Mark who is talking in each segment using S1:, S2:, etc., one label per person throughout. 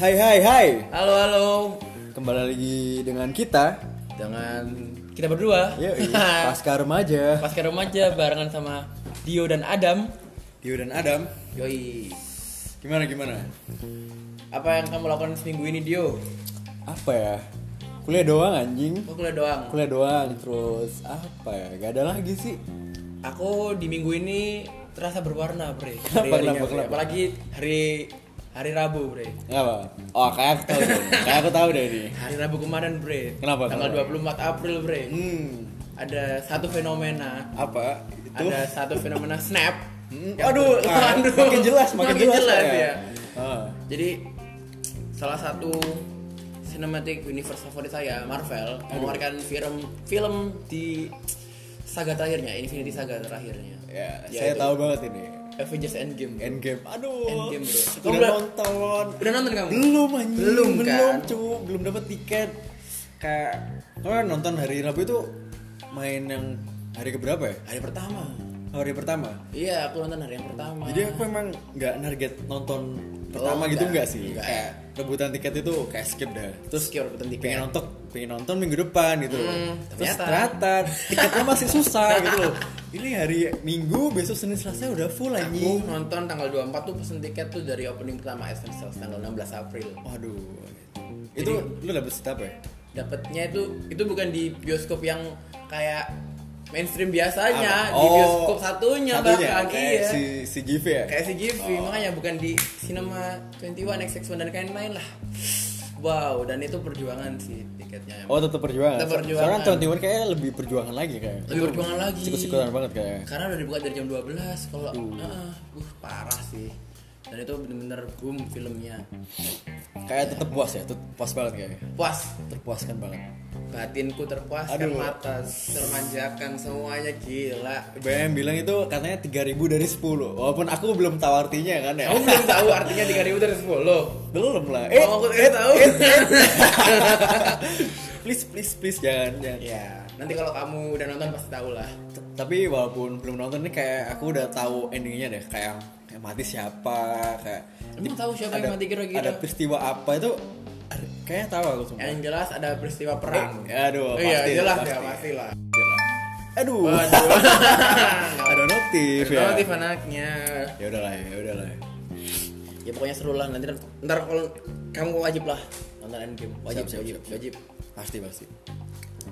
S1: Hai hai hai
S2: Halo halo
S1: Kembali lagi dengan kita
S2: dengan kita berdua.
S1: Yoi, Pasca Remaja
S2: Pas ke remaja barengan sama Dio dan Adam.
S1: Dio dan Adam
S2: Yoi.
S1: Gimana gimana?
S2: Apa yang kamu lakukan seminggu ini Dio?
S1: Apa ya? Kuliah doang anjing
S2: Aku kuliah doang.
S1: Kuliah doang terus apa ya? Gak ada lagi sih
S2: Aku di minggu ini terasa berwarna, Bre.
S1: Kenapa,
S2: Hari-harinya,
S1: kenapa,
S2: Bre.
S1: kenapa?
S2: Apalagi hari hari Rabu, Bre.
S1: Gak apa? Oh kayak aku tau deh Kayak aku tau deh ini
S2: Hari Rabu kemarin, Bre.
S1: Kenapa,
S2: Tanggal
S1: kenapa?
S2: 24 April, Bre.
S1: Hmm
S2: Ada satu fenomena.
S1: Apa? Itu?
S2: Ada satu fenomena snap.
S1: Hmm,
S2: Yang
S1: Aduh,
S2: ber-
S1: ah,
S2: aduh.
S1: makin jelas, makin, jelas,
S2: ya.
S1: Ah.
S2: Jadi salah satu cinematic universe favorit saya
S1: Hmm.
S2: Marvel mengeluarkan film film di saga terakhirnya Infinity Saga terakhirnya.
S1: Ya, saya
S2: Yaitu
S1: tahu Ya. banget ini.
S2: Avengers Endgame.
S1: Endgame. Aduh.
S2: Endgame, bro.
S1: Udah
S2: Kamu udah-
S1: nonton.
S2: Udah nonton kamu?
S1: Belum anjing.
S2: Belum, kan?
S1: Belum, cu. Belum dapat tiket. Kayak kemarin nonton hari Rabu itu main yang hari keberapa ya? Oh,
S2: Hari pertama.
S1: Hari pertama.
S2: Iya, aku nonton hari yang pertama.
S1: Jadi aku emang nggak target nonton pertama gitu nggak
S2: enggak.
S1: sih?
S2: Enggak.
S1: Kayak rebutan tiket itu kayak skip dah.
S2: terus kira rebutan tiket.
S1: pengen nonton pengen nonton minggu depan gitu loh.
S2: Iya. Hmm,
S1: Terus
S2: ternyata.
S1: ternyata tiketnya masih susah gitu loh. Ini hari Minggu, besok Senin Selasa udah full
S2: Aku
S1: anjing.
S2: nonton tanggal 24 tuh pesen tiket tuh dari opening pertama Essentials tanggal 16 April.
S1: Waduh. Itu lu dapet seat apa ya?
S2: Dapatnya itu itu bukan di bioskop yang kayak mainstream biasanya,
S1: Apa?
S2: di bioskop satunya, bahkan
S1: kayak
S2: iya.
S1: si si GV ya.
S2: kayak si Givi makanya bukan di Cinema 21 XX1 dan lain-lain lah wow dan itu perjuangan sih tiketnya
S1: Oh tetap perjuangan.
S2: Tetap perjuangan.
S1: Sekarang 21 kayaknya lebih perjuangan lagi kayak.
S2: Lebih perjuangan lagi.
S1: Sikut-sikutan Hmm. banget kayak.
S2: karena udah dibuka dari jam 12 kalau ah, uh parah sih dan itu bener-bener boom filmnya
S1: Kayak tetap puas ya, tetap puas banget kayak.
S2: puas
S1: Terpuaskan banget.
S2: batinku terpuaskan
S1: Aduh.
S2: mata termanjakan semuanya gila
S1: BM bilang itu katanya 3000 dari 10 Walaupun aku belum tahu artinya kan ya
S2: kamu belum tahu artinya 3000 dari 10
S1: Belum lah
S2: Eh, oh, aku tidak tahu.
S1: eh. Please please please jangan, jangan.
S2: ya, nanti kalau kamu udah nonton pasti tahu lah.
S1: T- Tapi walaupun belum nonton nih kayak aku udah tahu endingnya deh Kayak yang mati siapa Kayak
S2: Emang tahu siapa yang mati gitu. kira-kira?
S1: Ada peristiwa apa itu ar- Kayaknya tahu aku semua
S2: Yang jelas ada peristiwa perang.
S1: Eh, aduh,
S2: iya,
S1: pasti,
S2: jelas
S1: pasti.
S2: ya, pastilah.
S1: Aduh
S2: Waduh.
S1: Ada notif ya
S2: Relatif anaknya.
S1: Ya udahlah ya udahlah ya.
S2: Ya pokoknya seru lah nanti ntar kalau kamu wajib lah nonton Endgame. Wajib,
S1: Siap, siap,
S2: wajib,
S1: siap.
S2: wajib.
S1: Pasti pasti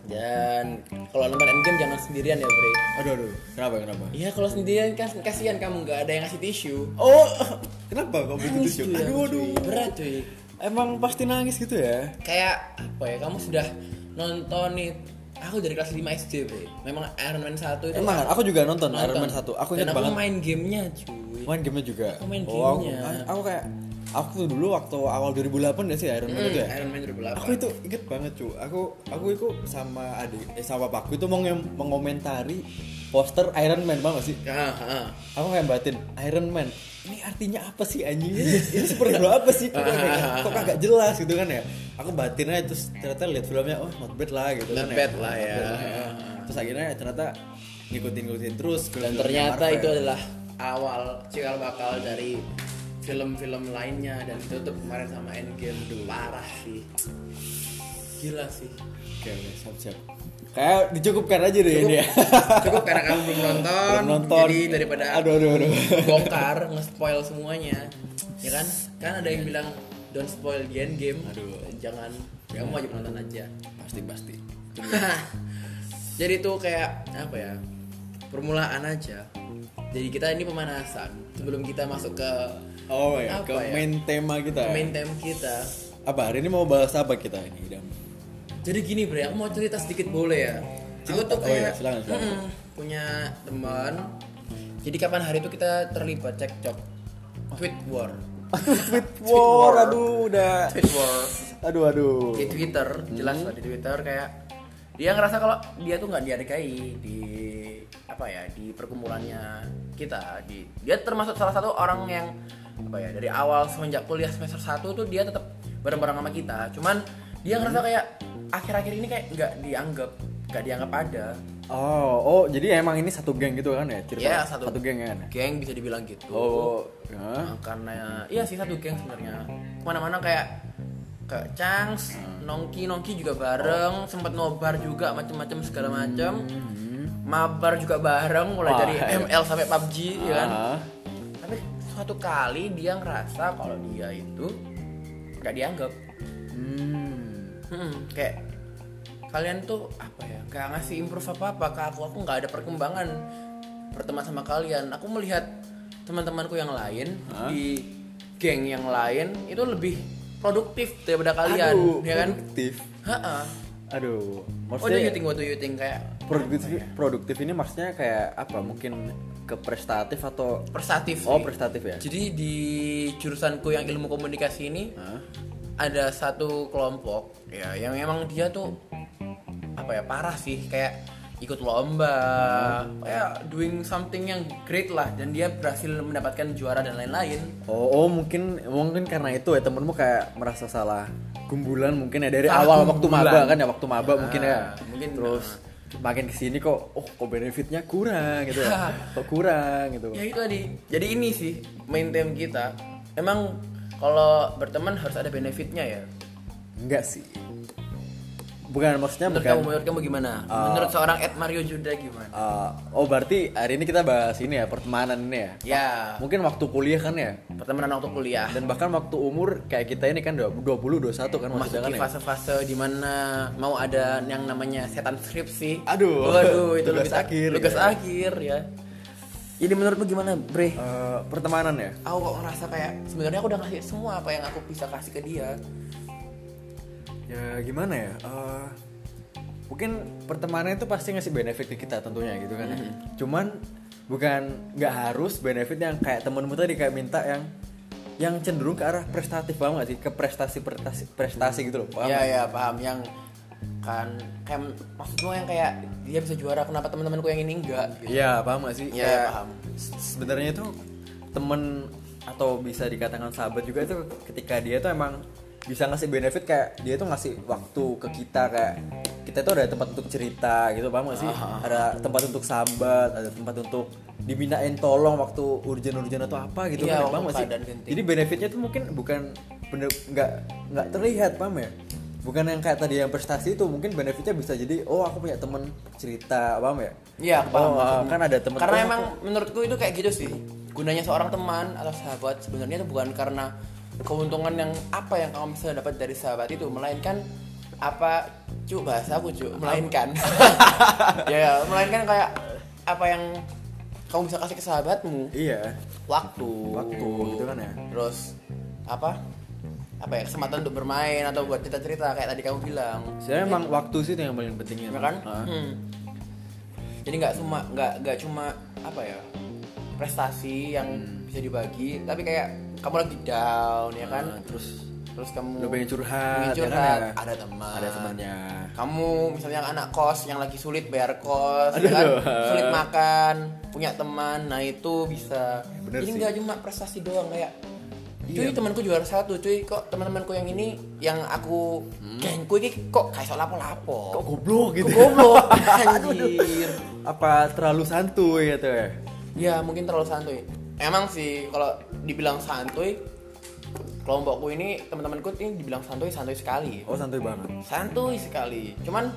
S2: Dan kalau nonton Endgame jangan sendirian ya, Bre.
S1: Aduh aduh Kenapa kenapa
S2: Iya, kalau sendirian kan kasihan kamu nggak ada yang ngasih tisu.
S1: Oh, kenapa kok
S2: Nangis
S1: begitu sih?
S2: cuy,
S1: Aduh,
S2: cuy.
S1: aduh.
S2: Berat cuy.
S1: Emang pasti nangis gitu ya?
S2: Kayak apa ya? Kamu sudah nonton nih Aku dari kelas 5 SD, Bre. Memang Iron Man 1 itu
S1: Emang kan? aku juga nonton, Iron Man 1. Aku
S2: Dan
S1: ingat
S2: aku
S1: banget.
S2: main gamenya, cuy.
S1: Main gamenya juga.
S2: Aku main
S1: oh, aku,
S2: gamenya.
S1: aku kayak aku tuh dulu waktu awal 2008 gak sih Iron Man itu ya?
S2: Iron Man 2008.
S1: Aku itu inget banget cu. Aku aku itu sama adik eh, sama papaku itu mau ngem- mengomentari poster Iron Man banget sih.
S2: Ah, ah.
S1: Aku kayak batin Iron Man. Ini artinya apa sih anjing? Ini, ini superhero apa sih? Kok kagak- kok kagak jelas gitu kan ya? Aku batin aja terus ternyata lihat filmnya oh not bad lah gitu
S2: Not
S1: kan
S2: bad lah ya.
S1: Not bad lah ya. Terus akhirnya ternyata ngikutin-ngikutin terus
S2: Dan
S1: film-filmnya
S2: ternyata
S1: Marvel.
S2: itu adalah awal cikal bakal dari film-film lainnya dan ditutup kemarin sama Endgame Duh, parah sih. Gila sih.
S1: Oke, oke, siap-siap. Kayak dicukupkan aja deh ini ya.
S2: Cukup karena kamu belum nonton.
S1: Belum nonton.
S2: Jadi daripada
S1: aduh aduh aduh.
S2: bongkar nge-spoil semuanya. Ya kan? Kan ada yang bilang don't spoil the Endgame.
S1: Aduh.
S2: Jangan. Ya, Kamu wajib nonton aja.
S1: pasti pasti.
S2: jadi itu kayak apa ya permulaan aja jadi kita ini pemanasan sebelum kita masuk ke
S1: Oh ya, ke
S2: Apa ya?
S1: main tema kita.
S2: main time kita
S1: Apa hari ini mau bahas apa kita ini? Dam?
S2: jadi gini bre aku mau cerita sedikit boleh ya aku tuh
S1: Oh
S2: kayak
S1: iya, silakan, silakan.
S2: mm-mm, punya teman jadi kapan hari itu kita terlibat cekcok tweet war
S1: Tweet
S2: war.
S1: war, aduh udah.
S2: tweet war
S1: Aduh aduh.
S2: di Twitter jelas lah di Twitter kayak dia ngerasa kalau dia tuh nggak dihargai di apa ya di perkumpulannya kita di dia termasuk salah satu orang yang apa ya dari awal semenjak kuliah semester 1 tuh dia tetap bareng-bareng sama kita cuman dia ngerasa kayak akhir-akhir ini kayak nggak dianggap gak dianggap ada
S1: Oh, oh, jadi emang ini satu geng gitu kan ya? Cerita
S2: Iya, satu-
S1: geng kan. ya?
S2: geng bisa dibilang gitu
S1: Oh, ya.
S2: Nah, karena iya sih satu geng sebenarnya kemana-mana kayak ke Changs, Nongki Nongki juga bareng, sempet nobar juga macem-macem segala macem, mabar juga bareng mulai
S1: Wah,
S2: dari
S1: iya.
S2: ML sampai PUBG, ya kan?
S1: Ah.
S2: Tapi suatu kali dia ngerasa kalau dia itu nggak dianggap,
S1: Hmm.
S2: Hmm, kayak kalian tuh apa ya? Gak ngasih improve apa apa ke aku, aku nggak ada perkembangan berteman sama kalian. Aku melihat teman-temanku yang lain
S1: Hah?
S2: di geng yang lain itu lebih produktif daripada kalian,
S1: Aduh,
S2: ya kan? Oh,
S1: produktif.
S2: Ha-ha.
S1: Aduh,
S2: What do you
S1: maksudnya ya,
S2: think? What do you think? Kayak Oh,
S1: produktif,
S2: iya.
S1: produktif ini maksudnya kayak apa? Mungkin ke prestatif atau
S2: prestatif.
S1: oh
S2: sih.
S1: prestatif ya?
S2: Jadi di jurusanku yang ilmu komunikasi ini
S1: Hah?
S2: ada satu kelompok ya yang emang dia tuh apa ya parah sih kayak ikut lomba kayak doing something yang great lah dan dia berhasil mendapatkan juara dan lain-lain
S1: Oh, oh, mungkin mungkin karena itu ya temenmu kayak merasa salah gumbulan mungkin ya dari
S2: Salah
S1: awal waktu
S2: gumbulan.
S1: maba kan ya waktu maba
S2: Ya,
S1: mungkin ya.
S2: mungkin,
S1: Terus makin kesini kok oh kok benefitnya kurang gitu ya. kok kurang gitu.
S2: ya itu tadi jadi ini sih main theme kita emang kalau berteman harus ada benefitnya ya
S1: Enggak sih. Bukan maksudnya
S2: menurut
S1: bukan.
S2: kamu menurut kamu gimana menurut seorang Ed Mario Juda gimana
S1: Eh, oh berarti hari ini kita bahas ini ya pertemanan ini ya.
S2: ya
S1: Mungkin waktu kuliah kan ya.
S2: pertemanan waktu kuliah
S1: Dan bahkan waktu umur kayak kita ini kan 20 21 kan maksudnya kan
S2: memasuki
S1: ya.
S2: fase-fase dimana mau ada yang namanya setan skripsi.
S1: Aduh.
S2: waduh itu
S1: Tugas
S2: tugas
S1: akhir,
S2: akhir. Tugas
S1: ya.
S2: akhir ya. Jadi menurutmu gimana, Bre?
S1: Eh, pertemanan ya.
S2: Aku kok ngerasa kayak sebenarnya aku udah ngasih semua apa yang aku bisa kasih ke dia.
S1: ya gimana ya Eh, mungkin pertemanan itu pasti ngasih benefit ke kita tentunya gitu kan ya. cuman bukan nggak harus benefit yang kayak temenmu tadi kayak minta yang yang cenderung ke arah prestatif paham gak sih ke prestasi prestasi prestasi gitu loh paham
S2: Iya,
S1: nggak?
S2: ya, paham yang kan kayak maksudmu yang kayak dia bisa juara kenapa teman-temanku yang ini enggak gitu.
S1: iya paham gak sih
S2: Iya,
S1: Kayak
S2: paham.
S1: se- sebenarnya itu temen atau bisa dikatakan sahabat juga itu ketika dia tuh emang bisa ngasih benefit kayak dia tuh ngasih waktu ke kita kayak kita tuh ada tempat untuk cerita gitu paham gak sih ada tempat untuk sambat ada tempat untuk dimintain tolong waktu urgen-urgen atau apa gitu kan
S2: Iya,
S1: paham
S2: waktu
S1: gak sih
S2: keadaan genting.
S1: jadi benefitnya tuh mungkin bukan bener nggak nggak terlihat paham ya bukan yang kayak tadi yang prestasi itu mungkin benefitnya bisa jadi oh aku punya temen cerita paham ya
S2: Iya, aku paham
S1: Oh,
S2: maksudmu.
S1: kan ada temen
S2: Karena
S1: oh,
S2: emang menurutku itu kayak gitu sih. Gunanya seorang teman atau sahabat sebenarnya itu bukan karena keuntungan yang apa yang kamu bisa dapat dari sahabat itu, melainkan apa cu bahasa aku cu melainkan ya melainkan kayak apa yang kamu bisa kasih ke sahabatmu
S1: Iya,
S2: waktu
S1: Waktu, gitu kan ya.
S2: terus apa apa ya kesempatan untuk bermain atau buat cerita cerita kayak tadi kamu bilang
S1: saya emang waktu sih itu yang paling pentingnya. Ah,
S2: ya kan?
S1: Heeh.
S2: Hmm. Jadi nggak cuma nggak nggak cuma apa ya prestasi yang
S1: Hmm.
S2: bisa dibagi, tapi kayak kamu lagi down ya kan?
S1: Nah, terus
S2: Terus
S1: Lu
S2: kamu
S1: pengen curhat, ya
S2: pengen
S1: kan,
S2: curhat,
S1: ya?
S2: ada teman,
S1: ada temannya.
S2: Kamu misalnya anak kos yang lagi sulit bayar kos, ya
S1: Aduh.
S2: kan? sulit makan, punya teman, nah itu bisa.
S1: Bener
S2: Jadi
S1: sih. Iya.
S2: nggak cuma prestasi doang kayak. Cuy temanku juara satu, cuy kok teman-temanku yang ini yang aku gengku ini kok kayak soal lapo-lapo.
S1: Hmm. Kok goblok gitu?
S2: Goblok anjir.
S1: Apa terlalu santuy gitu ya?
S2: Ya mungkin terlalu santuy. Emang sih kalau dibilang santuy kelompokku ini teman-temanku ini dibilang santuy santuy sekali.
S1: Oh santuy banget.
S2: Santuy sekali. Cuman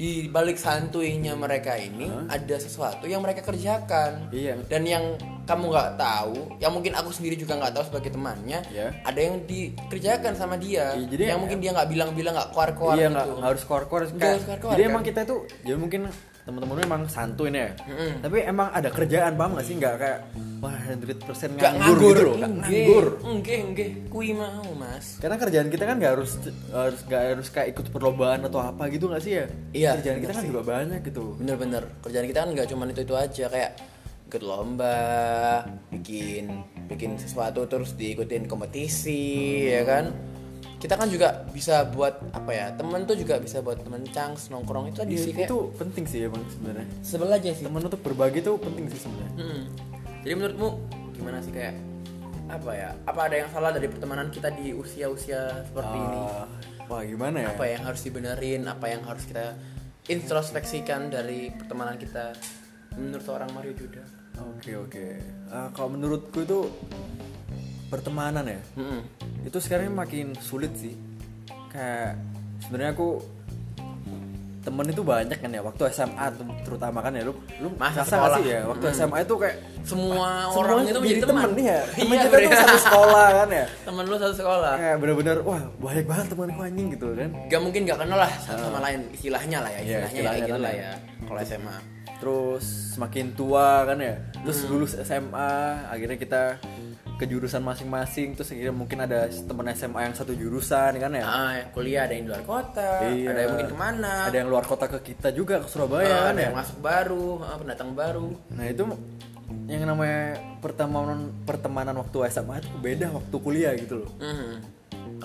S2: di balik santuynya mereka ini ada sesuatu yang mereka kerjakan.
S1: Iya.
S2: Dan yang kamu nggak tahu, yang mungkin aku sendiri juga nggak tahu sebagai temannya,
S1: Iya.
S2: ada yang dikerjakan sama dia.
S1: Iya, jadi-
S2: yang mungkin dia nggak bilang-bilang nggak keluar-keluar
S1: iya
S2: gitu.
S1: nggak nggak harus kor kor.
S2: Nggak harus keluar-keluar,
S1: Jadi
S2: kan?
S1: emang kita itu, ya mungkin teman-teman lu emang santuy nih ya.
S2: Mm-mm.
S1: Tapi emang ada kerjaan paham gak sih? Nggak kayak wah 100%
S2: Gak
S1: nganggur,
S2: nganggur,
S1: gitu loh. Nggak nganggur.
S2: Enggak, enggak. Kui mau, Mas.
S1: Karena kerjaan kita kan nggak harus harus nggak harus kayak ikut perlombaan atau apa gitu nggak sih ya?
S2: Iya,
S1: Kerjaan
S2: bener
S1: kita kan
S2: sih.
S1: juga banyak gitu.
S2: Bener-bener. Kerjaan kita kan nggak cuma itu-itu aja kayak ikut lomba, bikin bikin sesuatu terus diikutin kompetisi, ya kan? Kita kan juga bisa buat apa ya? Temen tuh juga bisa buat temen cangs nongkrong itu tadi
S1: Iya,
S2: sih kayak
S1: itu penting sih emang sebenarnya.
S2: sebel aja sih.
S1: Temen untuk berbagi tuh penting sih sebenarnya.
S2: Mm-mm. Jadi menurutmu gimana sih kayak apa ya? Apa ada yang salah dari pertemanan kita di usia-usia seperti ini?
S1: Ah, wah gimana ya?
S2: apa yang harus dibenerin apa yang harus kita introspeksikan dari pertemanan kita menurut orang Mario Juda.
S1: Oke oke. Eh, kalau menurutku itu pertemanan ya. Itu sekarang makin sulit sih. Kayak sebenarnya aku temen itu banyak kan ya waktu SMA tuh terutama kan ya lu lu
S2: Masa
S1: ngerasa nggak
S2: sekolah.
S1: sih ya waktu SMA itu kayak
S2: Semua
S1: semua
S2: orang itu menjadi teman.
S1: ya temen
S2: Iya,
S1: kita tuh
S2: Bre.
S1: satu sekolah kan ya
S2: Temen lu satu sekolah.
S1: kayak bener-bener wah banyak banget temanku anjing gitu kan
S2: Gak mungkin gak kenal lah satu sama lain istilahnya lah ya
S1: Ah. Iya,
S2: istilahnya, ya,
S1: istilahnya
S2: gitu
S1: kan
S2: lah
S1: ya.
S2: ya kalau SMA.
S1: terus semakin tua kan ya terus lulus SMA akhirnya kita ke jurusan masing-masing terus akhirnya mungkin ada teman SMA yang satu jurusan kan ya
S2: Ah, kuliah ada yang di luar kota,
S1: Iya.
S2: ada yang mungkin kemana,
S1: ada yang luar kota ke kita juga ke
S2: ah,
S1: Surabaya kan
S2: ada
S1: ya
S2: yang masuk baru, ah, pendatang baru.
S1: nah itu yang namanya pertemanan pertemanan waktu SMA itu beda waktu kuliah gitu loh
S2: Mhm.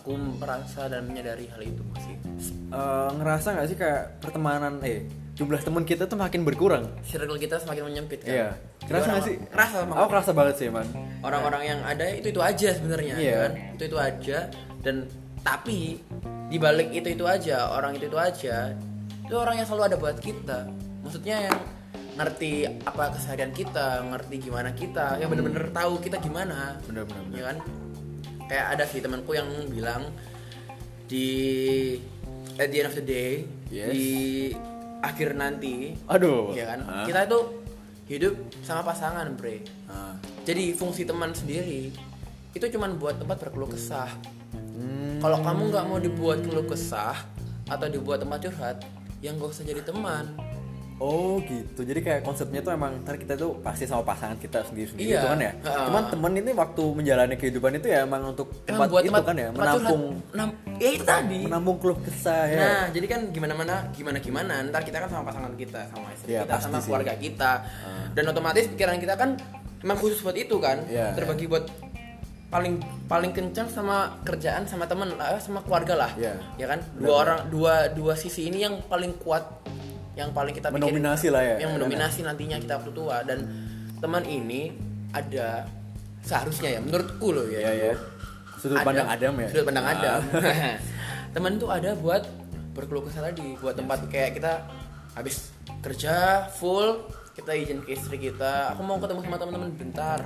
S2: Aku merasa dan menyadari hal itu masih.
S1: Eh, ngerasa nggak sih kayak pertemanan eh jumlah teman kita tuh makin berkurang
S2: Circle kita semakin menyempit kan.
S1: Iya. Kerasa
S2: Gimana,
S1: nggak
S2: Mak?
S1: sih?
S2: Kerasa Mak.
S1: Aku kerasa banget sih, Man.
S2: Hmm. orang-orang yang ada itu itu aja sebenarnya
S1: Iya.
S2: kan itu itu aja dan tapi dibalik itu itu aja orang itu itu aja itu orang yang selalu ada buat kita maksudnya yang ngerti apa keseharian kita ngerti gimana kita yang bener-bener tahu kita gimana
S1: Hmm. Bener, bener, bener.
S2: ya kan kayak ada sih temanku yang bilang di at the end of the day
S1: Yes.
S2: di akhir nanti
S1: Aduh.
S2: ya kan
S1: Hah?
S2: kita itu hidup sama pasangan bre
S1: Ah.
S2: jadi fungsi teman sendiri itu cuman buat tempat berkeluh kesah.
S1: Hmm.
S2: Kalau kamu nggak mau dibuat keluh kesah atau dibuat tempat curhat, yang gak usah jadi teman.
S1: Oh gitu, jadi kayak konsepnya tuh emang ntar kita tuh pasti sama pasangan kita sendiri-sendiri
S2: Iya.
S1: itu kan ya.
S2: Ha.
S1: Cuman temen ini waktu menjalani kehidupan itu ya emang untuk
S2: Emang
S1: tempat itu kan ya,
S2: tempat curhat.
S1: menampung
S2: Nam- ya itu tadi.
S1: menampung keluh kesah ya.
S2: Nah, jadi kan gimana mana, gimana gimana, ntar kita kan sama pasangan kita, sama istri
S1: Iya,
S2: kita,
S1: pasti
S2: sama
S1: sih. Ah.
S2: keluarga kita, dan otomatis pikiran kita kan emang khusus buat itu kan,
S1: Iya,
S2: terbagi buat paling paling kencang sama kerjaan sama temen eh, sama keluarga lah,
S1: Iya.
S2: ya kan dua orang dua dua sisi ini yang paling kuat, yang paling kita pikirin
S1: Mendominasi lah ya.
S2: yang mendominasi nantinya kita waktu tua dan teman ini ada seharusnya ya menurutku loh ya,
S1: Iya ya. Sudut
S2: ada-
S1: pandang Adam ya.
S2: sudut pandang Adam teman tuh ada buat berkeluh kesah tadi buat tempat kayak kita habis kerja full kita izin ke istri kita aku mau ketemu sama teman-teman bentar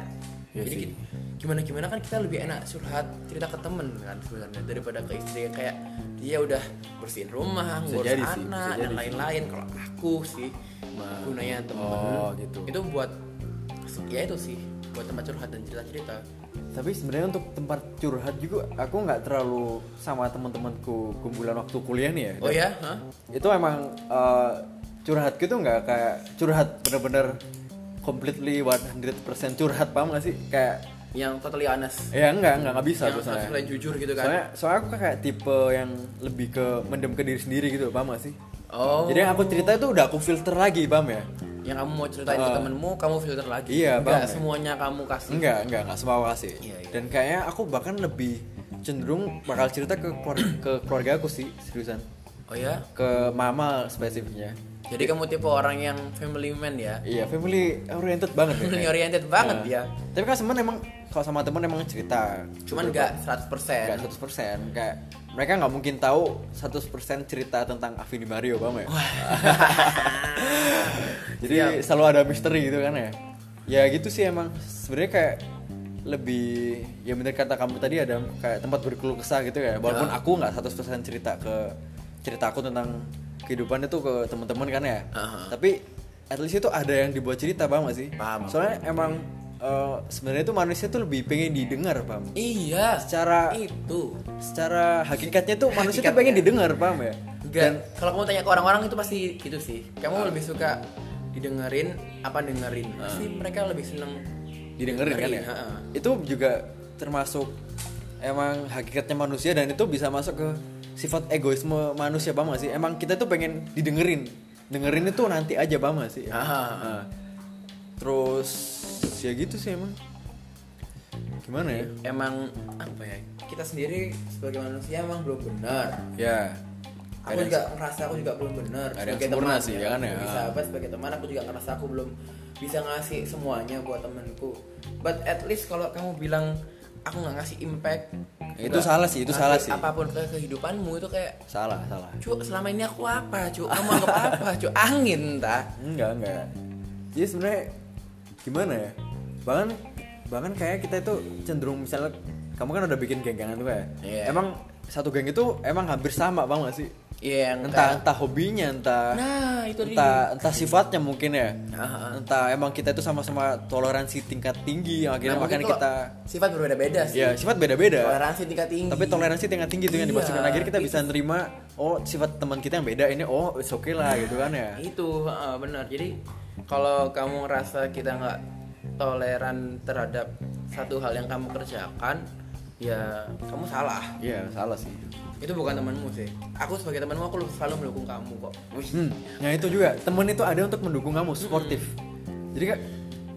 S1: Iya
S2: jadi
S1: sih.
S2: ki- gimana gimana kan kita lebih enak curhat cerita ke temen kan sebenarnya daripada ke istri yang kayak dia udah bersihin
S1: Bisa
S2: rumah ngurus
S1: jadi sih, bisa
S2: anak
S1: jadi
S2: dan
S1: sih.
S2: lain-lain kalau aku sih
S1: Ma-
S2: gunanya temen
S1: Oh, gitu.
S2: itu buat ya itu sih buat tempat curhat dan cerita-cerita
S1: Tapi sebenarnya untuk tempat curhat juga aku nggak terlalu sama teman-temanku kumpulan waktu kuliah nih ya.
S2: oh ya Hah?
S1: itu emang eh, curhat gitu nggak kayak curhat bener-bener completely 100% curhat paham gak sih kayak
S2: yang totally honest
S1: ya enggak enggak nggak bisa
S2: yang
S1: tuh
S2: harus
S1: soalnya
S2: mulai jujur gitu kan
S1: soalnya soalnya aku kayak tipe yang lebih ke mendem ke diri sendiri gitu paham gak sih
S2: oh
S1: jadi yang aku cerita itu udah aku filter lagi paham ya
S2: yang kamu mau ceritain ke temenmu kamu filter lagi
S1: Ah. Iya,
S2: Nggak
S1: paham ya.
S2: semuanya kamu kasih
S1: enggak enggak enggak semua aku kasih
S2: Iya, iya.
S1: dan kayaknya aku bahkan lebih cenderung bakal cerita ke keluarga, ke keluarga aku sih seriusan
S2: oh ya
S1: ke mama spesifiknya
S2: jadi kamu tipe orang yang family man ya
S1: iya family oriented banget ya
S2: family
S1: kayaknya.
S2: oriented banget
S1: Nah,
S2: ya
S1: Tapi kan temen emang kalau sama temen emang cerita.
S2: cuman nggak 100% persen
S1: Gak 100% kayak mereka nggak mungkin tahu 100% cerita tentang Avini Mario bang ya. Jadi selalu ada misteri gitu kan ya. Ya gitu sih emang sebenarnya kayak lebih ya bener kata kamu tadi ada kayak tempat berkeluh kesah gitu ya. Walaupun aku nggak 100% cerita ke cerita aku tentang kehidupan itu ke teman-teman kan ya.
S2: Aha.
S1: Tapi at least itu ada yang dibuat cerita bang gak sih?
S2: Paham.
S1: Soalnya emang eh, sebenarnya itu manusia tuh lebih pengen didengar bang
S2: iya
S1: secara
S2: itu
S1: secara hakikatnya tuh manusia tuh
S2: Hakikatnya.
S1: pengen didengar paham ya
S2: dan kalau kamu tanya ke orang-orang itu pasti gitu sih
S1: Ah.
S2: kamu lebih suka didengerin apa dengerin pasti mereka lebih seneng
S1: didengerin kan ya
S2: Dengerin, ha-ha.
S1: itu juga termasuk emang hakikatnya manusia dan itu bisa masuk ke sifat egoisme manusia paham gak sih emang kita tuh pengen didengerin dengerin itu nanti aja paham gak sih
S2: Ah.
S1: Nah, terus ya gitu sih emang gimana ya
S2: emang apa ya kita sendiri sebagai manusia emang belum benar
S1: ya
S2: aku juga ngerasa aku juga belum benar
S1: Ada yang sempurna sih, ya kan ya?
S2: bisa apa sebagai teman aku juga ngerasa aku belum bisa ngasih semuanya buat temanku but at least kalau kamu bilang aku nggak ngasih impact
S1: Itu salah sih, itu
S2: Ngasih
S1: salah sih.
S2: Apapun ke kehidupanmu itu kayak
S1: Salah, salah.
S2: Cuk, selama ini aku apa, Cuk? Kamu anggap apa, Cuk? Angin, tak?
S1: Enggak, enggak. Jadi sebenarnya gimana ya? Bahkan bahkan kayak kita itu cenderung misalnya kamu kan udah bikin geng-gengan tuh kayak.
S2: Iya.
S1: Emang satu geng itu emang hampir sama, Bang, gak sih?
S2: Iya, yang
S1: Entah
S2: kayak-
S1: entah hobinya, entah
S2: Nah, itu dia. Nah, ah,
S1: entah entah sifatnya mungkin ya.
S2: Aha.
S1: Entah emang kita itu sama-sama toleransi tingkat tinggi yang akhirnya
S2: Nah, mungkin
S1: makanya
S2: kalau
S1: kita
S2: sifat berbeda-beda sih.
S1: ya sifat beda-beda.
S2: Toleransi tingkat tinggi.
S1: Tapi toleransi tingkat tinggi itu yang
S2: Iya,
S1: dimaksudkan akhirnya kita bisa nerima oh sifat teman kita yang beda ini oh it's okay lah gitu kan ya.
S2: itu heeh, benar jadi kalau kamu ngerasa kita nggak toleran terhadap satu hal yang kamu kerjakan ya kamu salah
S1: Iya, salah sih.
S2: itu bukan temanmu sih aku sebagai temanmu aku selalu mendukung kamu kok
S1: Hmm, nah itu juga temen itu ada untuk mendukung kamu, suportif.
S2: Hmm.
S1: Jadi kak,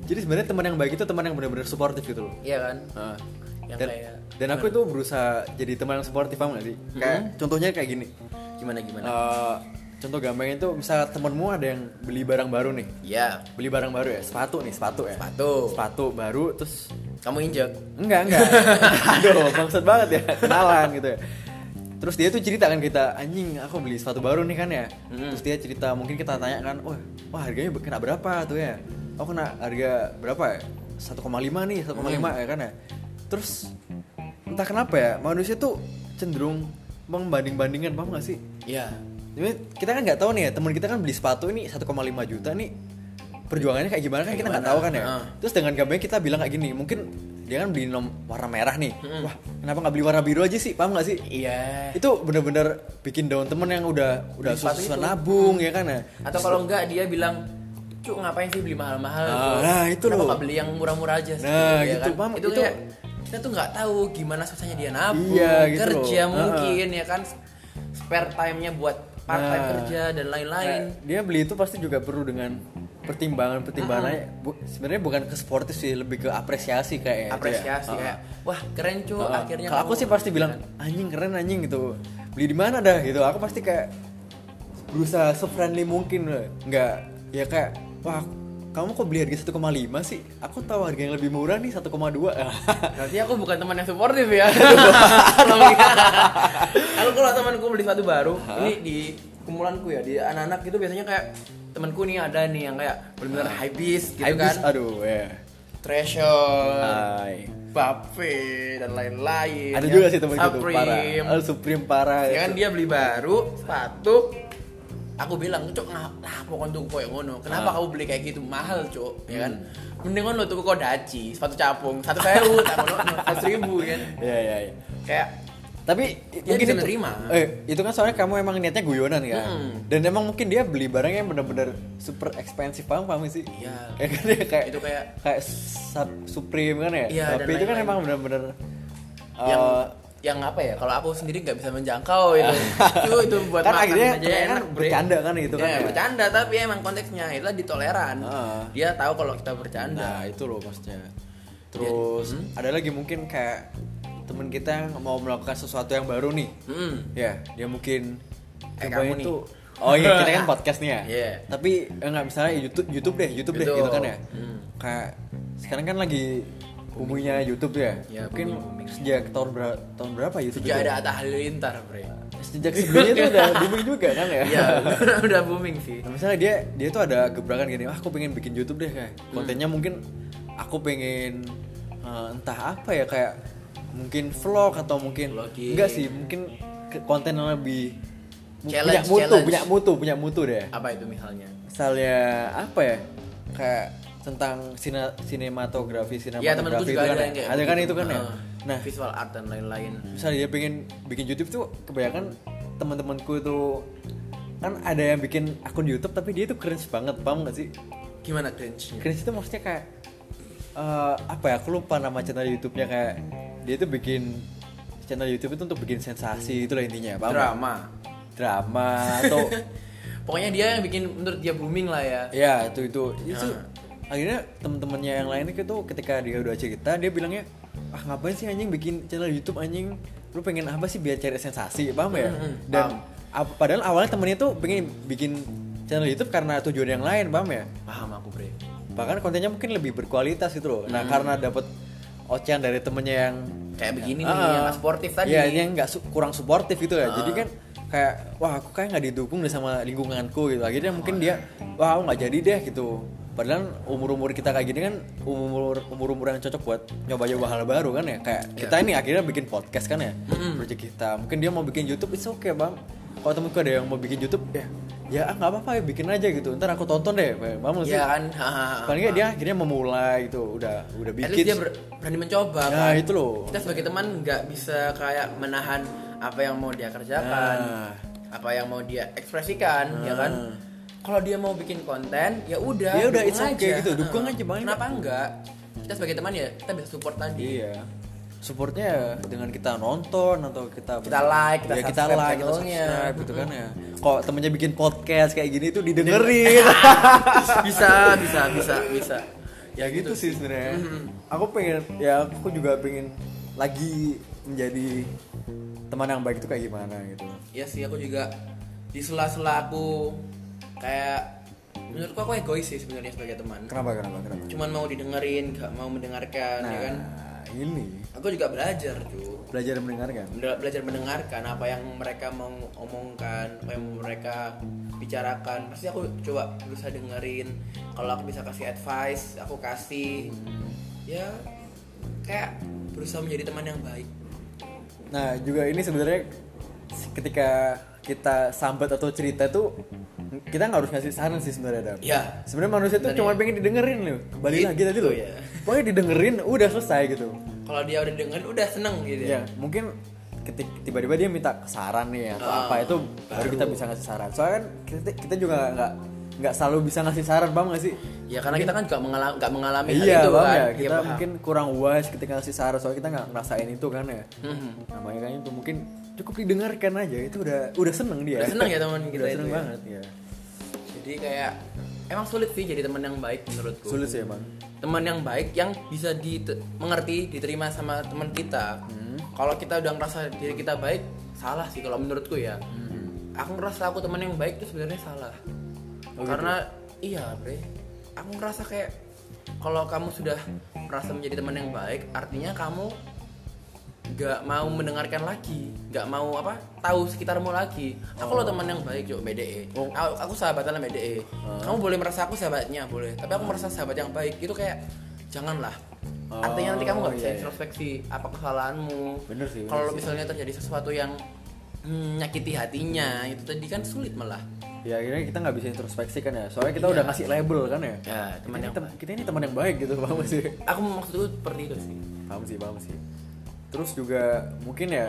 S1: jadi sebenarnya teman yang baik itu teman yang benar-benar suportif gitu loh.
S2: iya kan
S1: Nah,
S2: yang
S1: dan,
S2: kayak Hmm.
S1: dan aku itu berusaha jadi teman yang suportif kamu gak sih? Kayak contohnya kayak gini.
S2: gimana gimana
S1: Eh, contoh gampangnya itu misal temenmu ada yang beli barang baru nih,
S2: ya
S1: beli barang baru ya, sepatu nih, sepatu ya,
S2: sepatu
S1: sepatu baru terus
S2: kamu injek
S1: Enggak, enggak. Aduh, bangsat banget ya. Kenalan gitu ya. Terus dia tuh cerita kan kita, anjing aku beli sepatu baru nih kan ya. Terus dia cerita, mungkin kita tanya kan, wah, wah harganya kena berapa tuh ya? Oh kena harga berapa ya? 1,5 nih, 1,5 ya kan ya. Terus entah kenapa ya, manusia tuh cenderung membanding-bandingkan, paham gak sih?
S2: ya
S1: Jadi kita kan nggak tahu nih ya, teman kita kan beli sepatu ini 1,5 juta nih perjuangannya kayak gimana kan kita nggak tahu kan ya.
S2: Heeh.
S1: Terus dengan gampangnya kita bilang kayak gini, mungkin dia kan beli nom warna merah nih. Wah, kenapa nggak beli warna biru aja sih? Paham nggak sih?
S2: iya
S1: Itu bener-bener bikin down temen yang udah udah
S2: Beli sepatu
S1: susah
S2: itu.
S1: nabung ya kan ya.
S2: atau kalau enggak dia bilang cuk ngapain sih beli mahal-mahal
S1: Ah,
S2: Cuk?
S1: nah, itu
S2: Kenapa
S1: loh.
S2: nggak beli yang murah-murah aja sih
S1: Nah,
S2: Ya
S1: gitu, Pam,
S2: itu,
S1: itu-
S2: kayak kita tuh nggak tahu gimana susahnya dia nabung
S1: Iya, gitu
S2: kerja
S1: loh.
S2: mungkin ya kan spare time-nya buat part time
S1: Nah.
S2: kerja dan lain-lain
S1: Nah, dia beli itu pasti juga perlu dengan pertimbangan-pertimbangan aja. Bu- sebenarnya bukan ke sportif sih, lebih ke apresiasi kayak
S2: apresiasi
S1: Ah,
S2: ya. kayak wah keren cuy akhirnya gitu kan.
S1: kalau aku
S2: kamu-
S1: sih pasti bilang anjing keren anjing gitu beli di mana dah gitu aku pasti kayak berusaha se-friendly mungkin loh. nggak ya kayak wah kamu kok beli harga 1,5 sih aku tahu harga yang lebih murah nih 1,2
S2: berarti aku bukan teman yang suportif ya Kalau gitu. aku kalau temanku beli sepatu baru ini di kumpulanku ya di anak-anak itu biasanya kayak temanku nih ada nih yang kayak benar-benar
S1: Ah.
S2: high beast gitu
S1: Habis,
S2: kan Eh,
S1: aduh ya
S2: Treasure,
S1: Hai.
S2: Bape dan
S1: Ah.
S2: lain-lain.
S1: ada
S2: ya.
S1: juga sih temen gitu
S2: Supreme.
S1: parah oh, Supreme parah
S2: Ya kan dia beli baru sepatu. Aku bilang, "Cuk, nah, nah pokoknya tuh koyo
S1: Ah.
S2: ngono. Kenapa kamu beli kayak gitu? Mahal, Cuk." Ya kan?
S1: Hmm.
S2: Mendingan lo tuku kodaci, sepatu capung, satu sewu, tak ngono, satu ribu kan.
S1: ya ya ya
S2: Kayak
S1: tapi
S2: Dia bisa nerima.
S1: eh, itu kan soalnya kamu emang niatnya guyonan kan
S2: Hmm.
S1: dan emang mungkin dia beli barang yang benar-benar super ekspensif paham paham sih
S2: Iya.
S1: kayak kan dia kayak
S2: Itu kayak-
S1: kayak Sub- Supreme kan ya
S2: Iya, dan
S1: tapi itu kan
S2: lain-lain.
S1: emang benar-benar
S2: yang
S1: eh,
S2: yang apa ya? Kalau aku sendiri nggak bisa menjangkau itu. Cuk, itu buat
S1: kan
S2: makan
S1: akhirnya
S2: aja
S1: kan
S2: enak, Bre.
S1: bercanda kan gitu kan
S2: Ya,
S1: ya.
S2: bercanda tapi emang konteksnya itu ditoleran.
S1: Heeh.
S2: Dia tahu kalau kita bercanda.
S1: nah itu loh maksudnya terus
S2: Hmm?
S1: ada lagi mungkin kayak temen kita yang mau melakukan sesuatu yang baru nih
S2: Hmm.
S1: ya dia mungkin
S2: Kayak
S1: coba
S2: kamu
S1: itu oh iya kita kan podcast nih ya
S2: Iya.
S1: tapi eh, nggak misalnya YouTube YouTube deh YouTube, deh
S2: YouTube.
S1: gitu kan ya
S2: Hmm.
S1: kayak sekarang kan lagi bumbunya YouTube ya,
S2: Ya,
S1: mungkin sejak tahun berapa tahun berapa YouTube
S2: Sejak
S1: itu? Nah.
S2: ada Atta Halilintar, Bre.
S1: sejak sebelumnya itu udah booming juga kan ya
S2: Iya, udah booming sih.
S1: Nah, misalnya dia dia tuh ada gebrakan gini, ah aku pengen bikin YouTube deh kayak
S2: Hmm.
S1: kontennya mungkin aku pengen eh, entah apa ya kayak mungkin vlog atau mungkin
S2: Vlogging.
S1: enggak sih mungkin ke konten yang lebih mu- punya
S2: Challenge,
S1: mutu
S2: challenge.
S1: punya mutu punya mutu deh.
S2: Apa itu misalnya?
S1: Misalnya apa ya kayak tentang sina- sinematografi sinematografi
S2: Iya, temanku
S1: itu
S2: juga
S1: kan
S2: ada
S1: ya.
S2: yang kayak
S1: ada kan
S2: begitu.
S1: itu kan ya.
S2: Heeh.
S1: Nah Hmm.
S2: visual art dan lain-lain.
S1: misalnya dia pengen bikin YouTube tuh kebanyakan teman-temanku tuh kan ada yang bikin akun YouTube tapi dia tuh keren banget paham gak sih
S2: Gimana cringe-nya?
S1: Chris itu maksudnya kayak eh, apa ya? Aku lupa nama channel YouTube-nya kayak dia itu bikin channel YouTube itu untuk bikin sensasi itulah intinya, paham? nggak?
S2: Drama.
S1: Drama atau
S2: Pokoknya dia yang bikin menurut dia booming lah ya.
S1: ya itu itu itu
S2: Nah.
S1: akhirnya temen-temennya yang lain itu ketika dia udah cerita dia bilangnya ah ngapain sih anjing bikin channel YouTube anjing lu pengen apa sih biar cari sensasi paham ya
S2: Hmm, hmm,
S1: dan ap- padahal awalnya temennya tuh pengen bikin channel YouTube karena tujuan yang lain paham ya
S2: Paham aku, Bre.
S1: bahkan kontennya mungkin lebih berkualitas gitu loh. Nah karena dapat ocehan dari temennya yang
S2: kayak begini
S1: Ah,
S2: nih yang nggak sportif tadi Ah.
S1: Iya, yang nggak su- kurang suportif gitu ya. Jadi kan kayak wah aku kayak nggak didukung deh sama lingkunganku gitu. Akhirnya
S2: Oh,
S1: mungkin dia
S2: iya.
S1: wah aku nggak jadi deh gitu. Padahal umur-umur kita kayak gini kan umur umur-umur yang cocok buat nyoba-nyoba hal baru kan ya. Kayak
S2: Iya.
S1: kita ini akhirnya bikin podcast kan ya. Project kita. Mungkin dia mau bikin YouTube itu oke, Bang. Kalau temenku ada yang mau bikin YouTube ya ya ah, nggak apa-apa ya bikin aja gitu. Ntar aku tonton deh. Bang,
S2: Iya
S1: maksudnya
S2: kan Ah,
S1: paling nggak dia akhirnya memulai gitu. Udah udah
S2: at
S1: bikin.
S2: least dia ber- berani mencoba
S1: Nah,
S2: kan
S1: itu loh.
S2: kita sebagai teman nggak bisa kayak menahan apa yang mau dia kerjakan
S1: Nah.
S2: apa yang mau dia ekspresikan ya kan kalau dia mau bikin konten ya udah
S1: Ya udah,
S2: dukung
S1: it's okay gitu, dukung
S2: Ah,
S1: aja, Bang.
S2: kenapa enggak kita sebagai teman ya kita bisa support tadi
S1: Iya. Supportnya ya dengan kita nonton atau kita
S2: Kita like, kita
S1: ya, kita
S2: subscribe
S1: like, kita
S2: channelnya.
S1: subscribe gitu kan ya. Kok temennya bikin podcast kayak gini tuh didengerin.
S2: Iya.
S1: Iya.
S2: bisa bisa bisa bisa
S1: ya gitu sih sebenarnya.
S2: Mm-hmm.
S1: Aku pengen ya aku juga pengen lagi menjadi teman yang baik itu kayak gimana gitu.
S2: ya sih aku juga di sela-sela aku kayak menurutku aku egois sih sebenarnya sebagai teman
S1: Kenapa kenapa kenapa?
S2: cuman mau didengerin gak mau mendengarkan
S1: Nah,
S2: ya kan
S1: ini
S2: aku juga belajar tuh
S1: belajar mendengarkan.
S2: Bela- belajar mendengarkan apa yang mereka mau omongkan apa yang mereka bicarakan pasti aku coba berusaha dengerin kalau aku bisa kasih advice aku kasih ya kayak berusaha menjadi teman yang baik
S1: Nah, juga ini sebenarnya ketika kita sambat atau cerita tuh kita nggak harus ngasih saran sih sebenarnya Dam.
S2: ya
S1: Sebenarnya manusia tuh cuma pengen didengerin loh. Kembali
S2: Gitu
S1: lagi tadi loh.
S2: ya.
S1: Pokoknya didengerin udah selesai gitu.
S2: kalau dia udah dengerin udah seneng gitu
S1: Ya, mungkin ketik tiba-tiba dia minta saran nih atau
S2: Ah,
S1: apa itu baru kita bisa ngasih saran. Soalnya kan kita, kita juga nggak nggak selalu bisa ngasih saran, paham nggak sih?
S2: ya karena kita kan juga mengalami nggak mengalami hal
S1: Iya,
S2: itu
S1: paham
S2: kan
S1: ya.
S2: Iya,
S1: Kita
S2: paham.
S1: mungkin kurang wise ketika ngasih saran soalnya kita nggak ngerasain itu kan ya.
S2: Mhm.
S1: Nah, makanya itu mungkin cukup didengarkan aja itu udah udah seneng dia.
S2: Udah seneng ya teman kita
S1: udah
S2: itu
S1: seneng
S2: ya.
S1: banget ya.
S2: jadi kayak emang sulit sih jadi teman yang baik menurutku
S1: Sulit sih emang.
S2: teman yang baik yang bisa di mengerti diterima sama teman kita kalau kita udah ngerasa diri kita baik salah sih kalau menurutku ya aku ngerasa aku teman yang baik itu sebenarnya salah karena iya bre aku ngerasa kayak kalau kamu sudah merasa menjadi teman yang baik artinya kamu nggak mau mendengarkan lagi nggak mau apa tahu sekitarmu lagi aku lo teman yang baik cok BDE
S1: Oh.
S2: aku, E. aku sahabatan sama BDE kamu boleh merasa aku sahabatnya boleh tapi aku merasa sahabat yang baik itu kayak janganlah artinya nanti kamu nggak
S1: Oh,
S2: bisa
S1: iya, iya.
S2: introspeksi apa kesalahanmu
S1: Bener sih, bener
S2: kalau
S1: sih.
S2: misalnya terjadi sesuatu yang mm, nyakiti hatinya itu tadi kan sulit malah
S1: Ya akhirnya kita nggak bisa introspeksi kan ya. Soalnya
S2: Iya.
S1: kita udah ngasih label kan ya.
S2: ya teman
S1: Kita ini
S2: yang
S1: tem- kita ini teman yang baik gitu paham sih
S2: aku maksudku seperti itu sih
S1: paham sih paham sih terus juga mungkin ya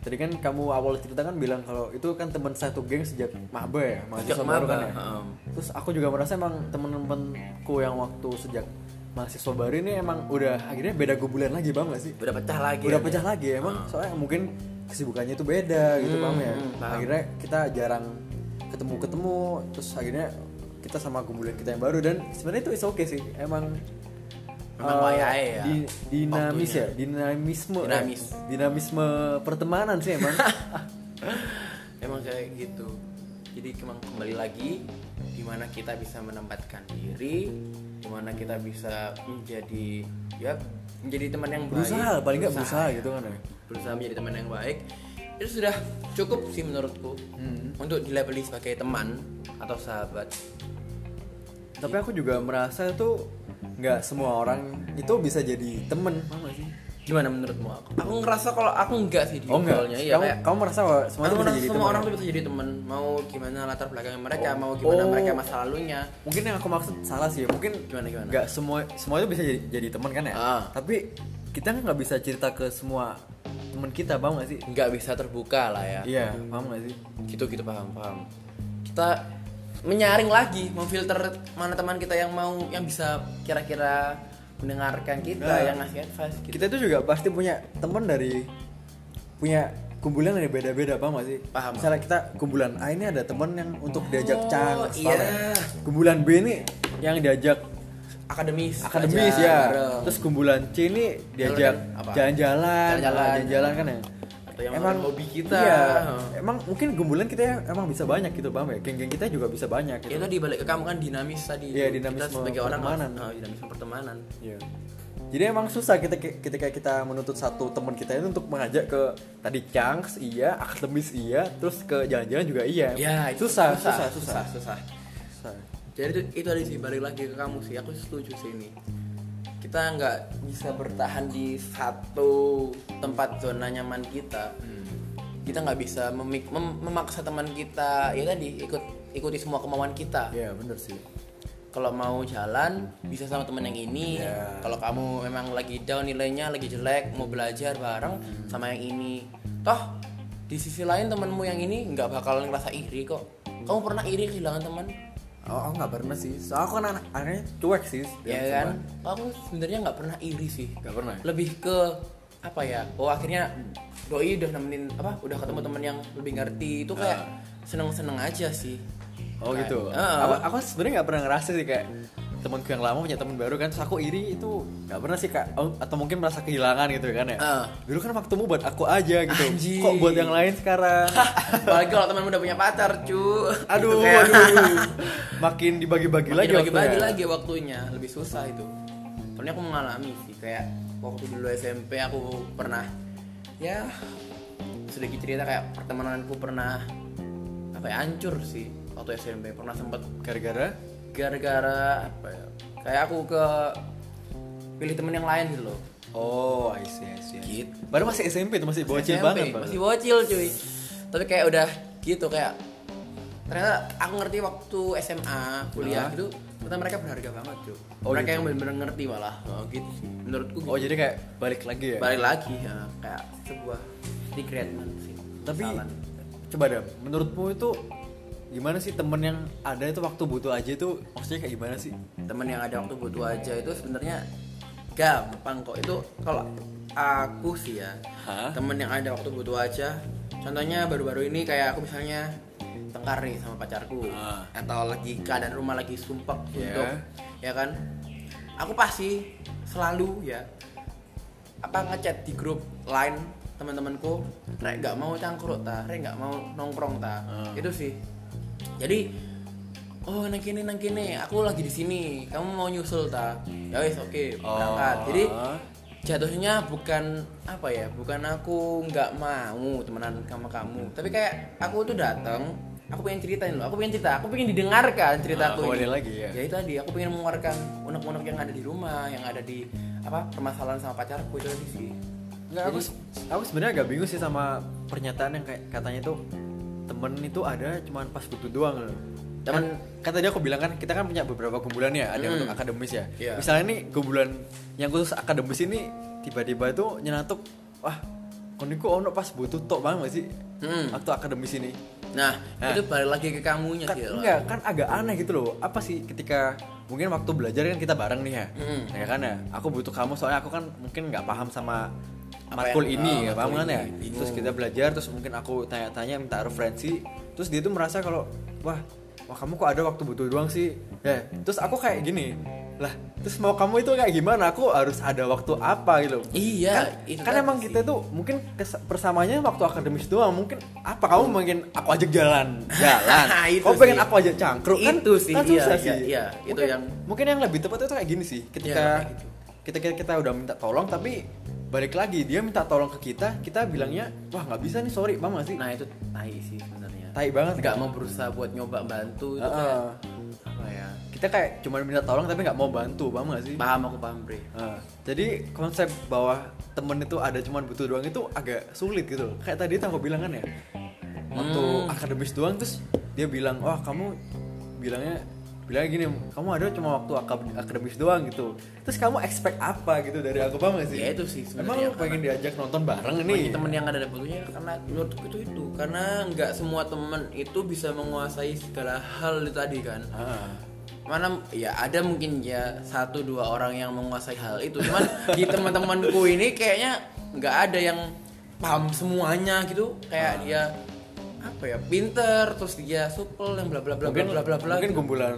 S1: tadi kan kamu awal cerita kan bilang kalau itu kan teman satu geng sejak maba ya mahasiswa
S2: Sejak
S1: baru kan
S2: maba,
S1: ya
S2: heeh.
S1: terus aku juga merasa emang temen-temenku yang waktu sejak mahasiswa baru ini emang udah akhirnya beda gubulan lagi bang gak sih
S2: udah pecah lagi
S1: udah
S2: ya,
S1: pecah lagi ya, emang soalnya mungkin kesibukannya itu beda gitu paham ya
S2: hmm, paham.
S1: akhirnya kita jarang ketemu ketemu terus akhirnya kita sama kumpulan kita yang baru dan sebenarnya itu is oke sih emang
S2: Memang
S1: eh,
S2: wayahe ya,
S1: di- dinamis ya dinamisme eh,
S2: Dinamis.
S1: dinamisme pertemanan sih emang
S2: emang kayak gitu jadi emang kembali lagi dimana kita bisa menempatkan diri dimana kita bisa menjadi ya menjadi teman yang baik
S1: berusaha paling nggak berusaha gitu kan ya
S2: berusaha menjadi teman yang baik itu sudah cukup sih menurutku
S1: Hmm.
S2: untuk dilabeli sebagai teman atau sahabat
S1: tapi
S2: Iya.
S1: aku juga merasa tuh nggak semua orang itu bisa jadi temen paham nggak sih
S2: gimana menurutmu aku aku ngerasa kalau aku enggak sih di
S1: oh enggak
S2: ngobrolnya ya
S1: kamu,
S2: kayak
S1: kamu merasa bahwa semua
S2: aku
S1: itu bisa
S2: merasa
S1: jadi
S2: semua
S1: temen
S2: orang
S1: ya?
S2: tuh bisa jadi teman mau gimana latar belakang mereka mau gimana
S1: Oh.
S2: mereka masa lalunya
S1: mungkin yang aku maksud salah sih ya. mungkin
S2: gimana gimana
S1: nggak semua semua itu bisa jadi, jadi teman kan ya
S2: Ah.
S1: tapi kita kan nggak bisa cerita ke semua teman kita paham gak sih
S2: nggak bisa terbuka lah ya
S1: iya paham gak sih
S2: gitu gitu paham paham kita menyaring lagi memfilter mana teman kita yang mau yang bisa kira-kira mendengarkan kita
S1: Nah.
S2: yang ngasih advice gitu
S1: kita itu juga pasti punya teman dari punya kumpulan yang beda-beda paham gak sih
S2: Paham.
S1: misalnya kita kumpulan A ini ada teman yang untuk diajak
S2: Oh,
S1: cang
S2: iya.
S1: kumpulan B ini yang diajak
S2: akademis
S1: akademis
S2: belajar
S1: ya
S2: bareng.
S1: terus kumpulan C ini diajak
S2: Apa?
S1: jalan-jalan ah,
S2: Jalan-jalan.
S1: jalan-jalan kan ya
S2: atau yang emang hobi kita
S1: iya, emang mungkin gumbulan kita ya emang bisa banyak gitu paham ya geng-geng kita juga bisa banyak gitu
S2: itu dibalik ke kamu kan dinamis tadi
S1: Iya,
S2: itu.
S1: dinamisme
S2: kita sebagai orang
S1: pertemanan.
S2: harus- eh, dinamisme pertemanan
S1: Iya. Jadi emang susah kita ketika kita menuntut satu teman kita itu untuk mengajak ke tadi chunks iya, akademis iya, terus ke jalan-jalan juga iya.
S2: ya itu
S1: susah, susah, susah,
S2: susah susah
S1: susah.
S2: jadi itu itu ada sih balik lagi ke kamu sih aku setuju sih ini kita nggak bisa bertahan di satu tempat zona nyaman kita kita nggak bisa memik- mem- memaksa teman kita ya tadi ikut ikuti semua kemauan kita
S1: Iya, bener sih.
S2: kalau mau jalan bisa sama temen yang ini
S1: Ya.
S2: kalau kamu memang lagi down nilainya lagi jelek mau belajar bareng sama yang ini toh di sisi lain temenmu yang ini nggak bakalan ngerasa iri kok kamu pernah iri kehilangan teman
S1: Oh, aku nggak pernah sih. Soalnya aku kan anak anaknya cuek sih.
S2: ya kan aku sebenarnya nggak pernah iri sih
S1: Nggak pernah.
S2: lebih ke apa ya oh akhirnya doi udah nemenin apa udah ketemu temen yang lebih ngerti itu kayak seneng seneng aja sih
S1: Ah. Oh
S2: Kayak,
S1: gitu.
S2: "Ah,
S1: Aku, aku sebenarnya nggak pernah ngerasa sih kayak temanku yang lama punya teman baru kan. Terus aku iri itu nggak pernah sih kak. Oh, Atau mungkin merasa kehilangan gitu kan ya.
S2: Ah.
S1: Dulu kan waktumu buat aku aja gitu.
S2: Anjing. Gitu
S1: Kok buat yang lain sekarang?
S2: Apalagi kalau teman udah punya pacar, cu.
S1: aduh,
S2: Gitu kayak.
S1: aduh. Makin dibagi-bagi lagi ya.
S2: Makin bagi-bagi
S1: waktunya.
S2: lagi waktunya, lebih susah itu. Soalnya aku mengalami sih kayak waktu dulu SMP aku pernah ya sedikit cerita kayak pertemananku pernah apa ya hancur sih waktu SMP pernah sempet
S1: Gara-gara
S2: gara-gara apa ya kayak aku ke pilih temen yang lain gitu loh
S1: Oh, I see, I see. I see.
S2: Gitu.
S1: Baru masih SMP tuh masih bocil
S2: SMP,
S1: banget, Pak.
S2: masih bocil cuy tapi kayak udah gitu kayak ternyata aku ngerti waktu SMA kuliah
S1: Ah.
S2: itu ternyata mereka berharga banget cuy
S1: Oh,
S2: mereka
S1: gitu.
S2: yang benar-benar ngerti malah oh, gitu sih menurutku gitu.
S1: Oh, jadi kayak balik lagi ya.
S2: balik lagi ya, kayak sebuah regretment sih
S1: Tapi
S2: kesalahan.
S1: coba deh, menurutmu itu gimana sih temen yang ada itu waktu butuh aja itu maksudnya kayak gimana sih?
S2: temen yang
S1: hmm,
S2: ada waktu butuh aja itu sebenarnya gampang kok itu kalau aku sih ya
S1: Hah?
S2: temen yang ada waktu butuh aja contohnya baru-baru ini kayak aku misalnya tengkar nih sama pacarku
S1: Ah.
S2: atau lagi keadaan rumah lagi sumpek
S1: Yeah.
S2: untuk ya kan aku pasti selalu ya apa ngechat di grup line teman-temanku rek nggak mau cangkruk ta rek nggak mau nongkrong ta
S1: Ah.
S2: itu sih jadi oh nang kini nang kini aku lagi di sini kamu mau nyusul ta ya wis oke berangkat jadi jatuhnya bukan apa ya bukan aku nggak mau temenan sama kamu tapi kayak aku tuh datang aku pengen ceritain loh aku pengen cerita aku pengen didengarkan ceritaku
S1: Ah, kembali
S2: ini.
S1: lagi, ya.
S2: itu tadi aku pengen mengeluarkan unek-unek yang ada di rumah yang ada di apa permasalahan sama pacarku itu tadi sih
S1: Nggak, aku se- aku sebenarnya agak bingung sih sama pernyataan yang kayak katanya itu temen itu ada cuman pas butuh doang loh.
S2: Temen-
S1: kan, kan tadi aku bilang kan kita kan punya beberapa kumpulan ya, ada yang untuk akademis ya.
S2: Iya.
S1: Misalnya nih kumpulan yang khusus akademis ini tiba-tiba itu nyenatuk wah koniku ono pas butuh tok banget sih
S2: Hmm.
S1: waktu akademis ini.
S2: nah
S1: Nah.
S2: itu balik lagi ke kamunya
S1: Kan,
S2: sih ya, gitu loh.
S1: enggak, kan agak aneh gitu loh. Apa sih ketika mungkin waktu belajar kan kita bareng nih ya.
S2: Mm.
S1: Ya kan ya. Aku butuh kamu soalnya aku kan mungkin nggak paham sama
S2: Apa
S1: matkul
S2: yang-
S1: ini,
S2: ah,
S1: nggak paham
S2: matkul
S1: kan ya.
S2: ini, bingung.
S1: Terus kita belajar terus mungkin aku tanya-tanya minta referensi, terus dia tuh merasa kalau wah, wah kamu kok ada waktu butuh doang sih. Ya, terus aku kayak gini. Lah, terus mau kamu itu kayak gimana? Aku harus ada waktu apa gitu.
S2: iya
S1: Kan,
S2: itu
S1: kan
S2: tadi
S1: emang
S2: sih.
S1: kita tuh mungkin kes- persamanya waktu akademis doang mungkin apa kamu pengen aku ajak jalan jalan
S2: Itu
S1: kamu pengen
S2: sih.
S1: aku ajak cangkruk kan
S2: Itu sih,
S1: kan
S2: iya,
S1: susah
S2: iya,
S1: sih
S2: iya. Itu
S1: mungkin,
S2: yang-
S1: mungkin yang lebih tepat itu kayak gini sih ketika
S2: kayak gitu.
S1: kita, kita kita udah minta tolong tapi balik lagi dia minta tolong ke kita kita bilangnya wah nggak bisa nih sorry mama sih
S2: nah itu tai sih sebenarnya
S1: tai banget
S2: nggak mau berusaha buat nyoba bantu itu kayak
S1: Heeh.
S2: apa ya
S1: kita kayak cuma minta tolong tapi nggak mau bantu paham gak sih
S2: paham aku paham bre
S1: Nah, jadi konsep bahwa temen itu ada cuman butuh doang itu agak sulit gitu loh. Kayak tadi tuh aku bilang kan ya. Waktu
S2: Hmm.
S1: akademis doang terus dia bilang, "Wah, kamu bilangnya bilangnya gini, kamu ada cuma waktu akad- akademis doang gitu." Terus kamu expect apa gitu dari aku paham gak sih?
S2: Ya, itu sih
S1: Emang
S2: sebenarnya
S1: lu pengen diajak nonton bareng
S2: bagi
S1: nih.
S2: temen yang ada butuhnya karena menurutku itu itu karena nggak semua temen itu bisa menguasai segala hal itu tadi kan
S1: Ah.
S2: mana ya ada mungkin ya satu dua orang yang menguasai hal itu cuman di teman-temanku
S1: Ah.
S2: ini kayaknya nggak ada yang paham semuanya gitu kayak dia apa ya pinter terus dia supel yang bla bla bla bla
S1: mungkin
S2: bla bla bla
S1: mungkin
S2: gitu.
S1: kumpulan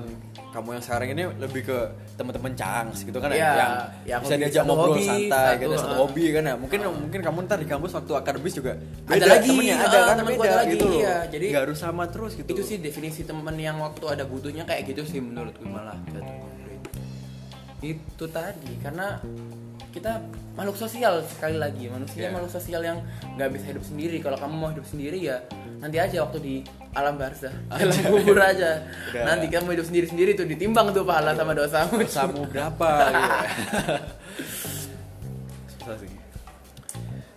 S1: kamu yang sekarang ini lebih ke teman-teman cangs gitu kan ya,
S2: Iya,
S1: yang
S2: yang
S1: bisa
S2: hobi-
S1: diajak
S2: satu
S1: ngobrol
S2: hobi,
S1: santai
S2: satu,
S1: gitu satu
S2: ah.
S1: hobi kan ya mungkin mungkin kamu ntar di kampus waktu akademis juga
S2: Ada
S1: beda
S2: lagi,
S1: temennya
S2: ah,
S1: ada kan
S2: temanku
S1: beda
S2: ada lagi,
S1: gitu loh
S2: iya, jadi-
S1: nggak harus sama terus gitu
S2: itu sih definisi temen yang waktu ada butuhnya kayak gitu sih menurut gue malah jatuhnya, Bray. itu tadi karena kita makhluk sosial sekali lagi manusia
S1: Iya.
S2: makhluk sosial yang nggak bisa hidup sendiri kalau kamu mau hidup sendiri ya nanti aja waktu di alam barzah alam kubur aja
S1: Udah.
S2: nanti kamu hidup sendiri sendiri tuh ditimbang tuh pahala
S1: Iya.
S2: sama dosamu
S1: dosamu berapa gitu ya. susah sih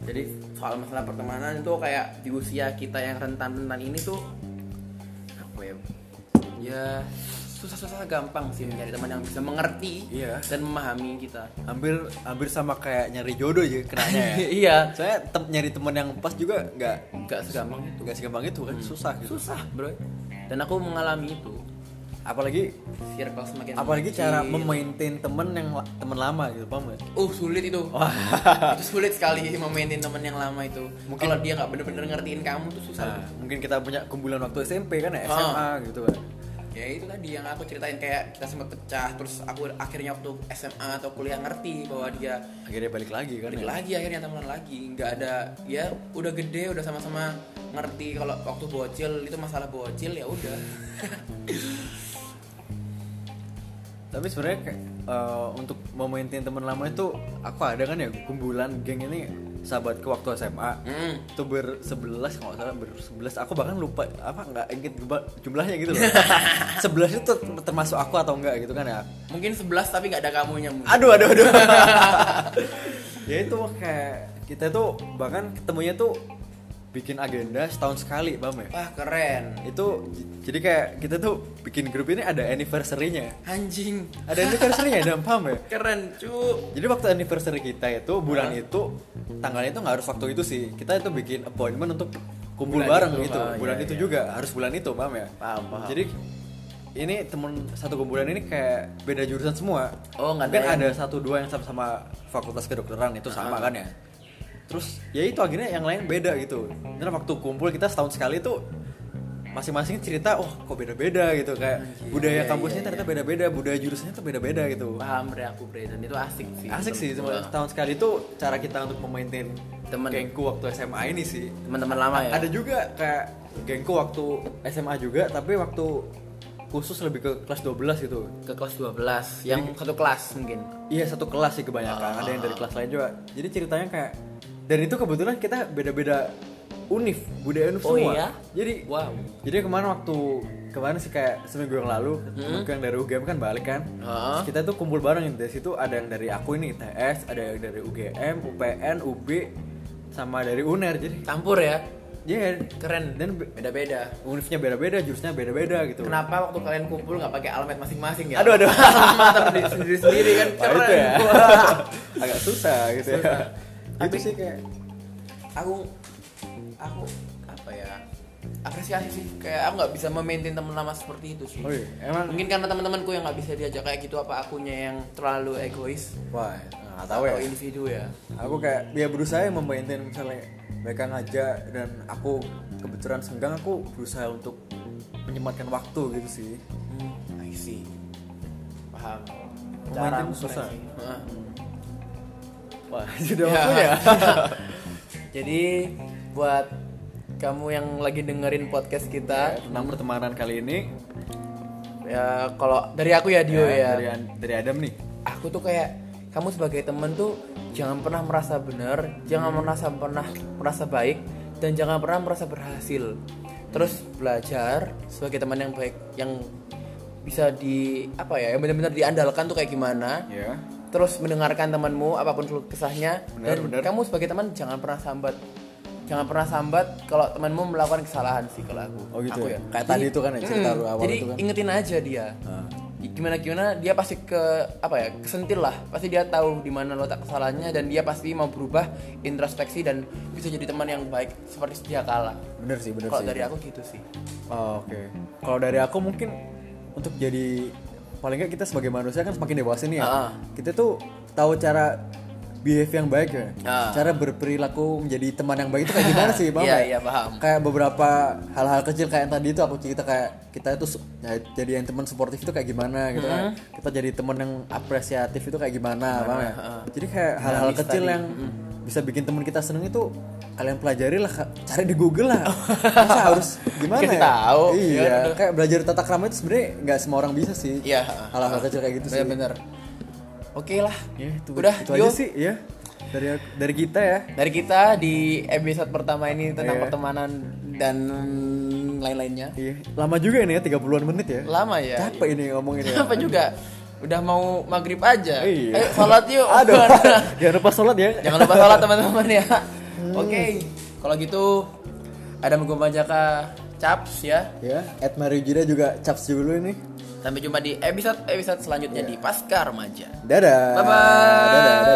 S2: jadi soal masalah pertemanan itu kayak di usia kita yang rentan-rentan ini tuh apa ya ya susah-susah gampang sih mencari teman yang bisa mengerti
S1: Iya.
S2: dan memahami kita
S1: hampir hampir sama kayak nyari jodoh aja kenanya ya
S2: iya
S1: saya tem- nyari teman yang pas juga nggak
S2: nggak segampang itu
S1: nggak segampang itu kan susah gitu
S2: Hmm. susah bro dan aku mengalami itu
S1: apalagi
S2: circle semakin
S1: apalagi
S2: mengecil.
S1: cara memaintain temen yang la- temen lama gitu paham gak?
S2: uh sulit itu itu sulit sekali memainin teman yang lama itu
S1: Mungkin-
S2: kalau dia nggak bener-bener ngertiin kamu tuh susah
S1: Nah, mungkin kita punya kumpulan waktu SMP kan ya SMA
S2: Ah.
S1: gitu kan
S2: ya itu tadi yang aku ceritain kayak kita sempat pecah terus aku akhirnya waktu SMA atau kuliah ngerti bahwa dia
S1: akhirnya balik lagi kan ya?
S2: balik lagi akhirnya temenan lagi nggak ada ya udah gede udah sama-sama ngerti kalau waktu bocil itu masalah bocil ya udah
S1: tapi sebenarnya kayak, eh, untuk memaintain temen lama itu aku ada kan ya kumpulan geng ini sahabatku waktu SMA
S2: hmm.
S1: itu bersebelas kalau nggak salah bersebelas aku bahkan lupa apa nggak inget jumlah- jumlahnya gitu loh sebelas itu ter- termasuk aku atau enggak gitu kan ya
S2: mungkin 11 tapi nggak ada kamunya mungkin.
S1: aduh aduh aduh ya itu kayak kita tuh bahkan ketemunya tuh bikin agenda setahun sekali paham ya
S2: wah keren
S1: itu j- jadi kayak kita tuh bikin grup ini ada anniversary-nya
S2: anjing
S1: ada anniversary-nya dan paham ya
S2: keren cu
S1: jadi waktu anniversary kita itu bulan itu tanggalnya itu nggak harus waktu itu sih kita itu bikin appointment untuk kumpul
S2: Bulan
S1: bareng
S2: itu,
S1: gitu
S2: ah,
S1: bulan
S2: iya,
S1: itu
S2: iya.
S1: juga harus bulan itu paham ya
S2: Paham, paham.
S1: jadi ini temen satu kumpulan ini kayak beda jurusan semua
S2: Oh, nggak
S1: mungkin
S2: ada yang-
S1: ada satu dua yang sama-sama fakultas kedokteran itu sama
S2: Ah.
S1: kan ya terus ya itu akhirnya yang lain beda gitu dan waktu kumpul kita setahun sekali tuh masing-masing cerita oh kok beda-beda gitu kayak
S2: Anjir,
S1: budaya
S2: iya,
S1: kampusnya
S2: iya,
S1: ternyata beda-beda budaya jurusannya tuh beda-beda gitu
S2: paham bre aku bre dan itu asik sih
S1: Asik sih,
S2: Temen-
S1: cuma setahun sekali itu cara kita untuk memaintain
S2: Temen.
S1: gengku waktu SMA ini sih.
S2: teman-teman lama ya
S1: Ada juga kayak gengku waktu SMA juga, tapi waktu khusus lebih ke kelas 12 gitu.
S2: ke kelas 12 yang satu kelas mungkin
S1: Iya satu kelas sih kebanyakan, ada yang dari kelas lain juga. Jadi ceritanya kayak, dan itu kebetulan kita beda-beda univ, budaya univ
S2: Oh
S1: semua.
S2: iya?
S1: Jadi
S2: wow
S1: jadi kemarin waktu kemarin sih kayak seminggu yang lalu
S2: Hmm.
S1: temanku yang dari UGM kan balik kan.
S2: Heeh.
S1: Terus kita tuh kumpul bareng dari situ ada yang dari aku ini ITS, ada yang dari UGM, UPN, UB sama dari UNER. Jadi
S2: campur ya
S1: ya
S2: keren
S1: dan be-
S2: beda-beda
S1: univnya beda-beda, jurusnya beda-beda gitu.
S2: Kenapa waktu kalian kumpul nggak pakai alamat masing-masing ya?
S1: Aduh, aduh.
S2: Alamat sendiri sendiri kan
S1: Wah,
S2: keren.
S1: itu ya.
S2: Wah.
S1: Agak susah gitu ya.
S2: Susah.
S1: Gitu
S2: Tapi-
S1: sih kayak
S2: Aku aku apa ya? Apresiasi sih kayak aku nggak bisa memaintain teman lama seperti itu sih.
S1: Oh iya, emang-
S2: mungkin karena teman-temanku yang nggak bisa diajak kayak gitu apa akunya yang terlalu egois
S1: wah, nggak tahu ya.
S2: atau individu ya.
S1: Aku kayak dia berusaha yang memaintain misalnya mereka ngajak dan aku kebetulan senggang aku berusaha untuk menyematkan waktu gitu sih.
S2: Hmm, I see. Paham.
S1: Memaintain
S2: aku
S1: susah.
S2: sih. Heeh.
S1: Wah, sudah
S2: Hmm. Ya.
S1: waktunya.
S2: Jadi buat kamu yang lagi dengerin podcast kita,
S1: Tentang pertemanan kali ini eh,
S2: ya kalau dari aku ya Dio ya,
S1: Dari, dari Adam nih.
S2: aku tuh kayak kamu sebagai temen tuh jangan pernah merasa benar jangan merasa pernah merasa baik dan jangan pernah merasa berhasil terus belajar sebagai teman yang baik yang bisa di apa ya yang benar-benar diandalkan tuh kayak gimana
S1: Ya.
S2: terus mendengarkan temanmu apapun keluh kesahnya
S1: Benar,
S2: dan
S1: benar.
S2: kamu sebagai teman jangan pernah sambat jangan pernah sambat kalau temanmu melakukan kesalahan sih kalau aku
S1: Oh gitu
S2: Aku
S1: ya? Kayak tadi itu kan ya, cerita lu awal
S2: jadi
S1: itu kan. Ah.
S2: ingetin aja dia gimana gimana dia pasti ke apa ya kesentil lah pasti dia tahu di mana letak kesalahannya dan dia pasti mau berubah introspeksi dan bisa jadi teman yang baik seperti sedia kala
S1: Bener sih, bener
S2: kalau
S1: sih.
S2: dari aku gitu sih
S1: Oh, Oke. Kalau dari aku mungkin untuk Ah, jadi paling nggak kita sebagai manusia kan semakin dewasa nih ya.
S2: Ah.
S1: Kita tuh tahu cara behave yang baik ya.
S2: Ah.
S1: Cara berperilaku menjadi teman yang baik itu kayak gimana sih, paham? ya?
S2: Iya,
S1: nggak?
S2: iya, paham.
S1: Kayak beberapa hal-hal kecil kayak yang tadi itu aku cerita kayak kita itu su- ya, jadi yang teman suportif itu kayak gimana gitu kan.
S2: Mm-hmm.
S1: Kita jadi teman yang apresiatif itu kayak gimana, paham ya? Jadi kayak hal-hal kecil yang
S2: Mm-hmm.
S1: bisa bikin teman kita seneng itu kalian pelajari lah Kak. cari di Google lah masa harus gimana
S2: Kasih
S1: ya?
S2: tahu.
S1: iya
S2: Iya,
S1: kayak belajar tata krama itu sebenarnya nggak semua orang bisa sih
S2: Iya.
S1: hal-hal kecil kayak gitu sih
S2: Bener-bener. Oke lah.
S1: Ya, itu,
S2: Udah,
S1: itu
S2: yuk.
S1: aja sih ya dari aku- dari kita ya.
S2: Dari kita di episode pertama ini tentang
S1: Iya.
S2: pertemanan dan lain-lainnya.
S1: Iya, lama juga ini ya 30-an menit ya.
S2: Lama ya.
S1: Capek ini ngomongin ya.
S2: Apa juga? Udah mau maghrib aja.
S1: Iya.
S2: Ayo Eh, salat yuk.
S1: Aduh. Jangan lupa sholat ya.
S2: Jangan lupa salat teman-teman ya.
S1: Hmm.
S2: Oke. Kalau gitu ada gue Majaka Caps ya.
S1: Ya, Ed Mario Jida juga caps dulu ini.
S2: Sampai jumpa di episode-episode selanjutnya di Pasca Remaja.
S1: Dadah.
S2: Bye-bye.
S1: Dadah.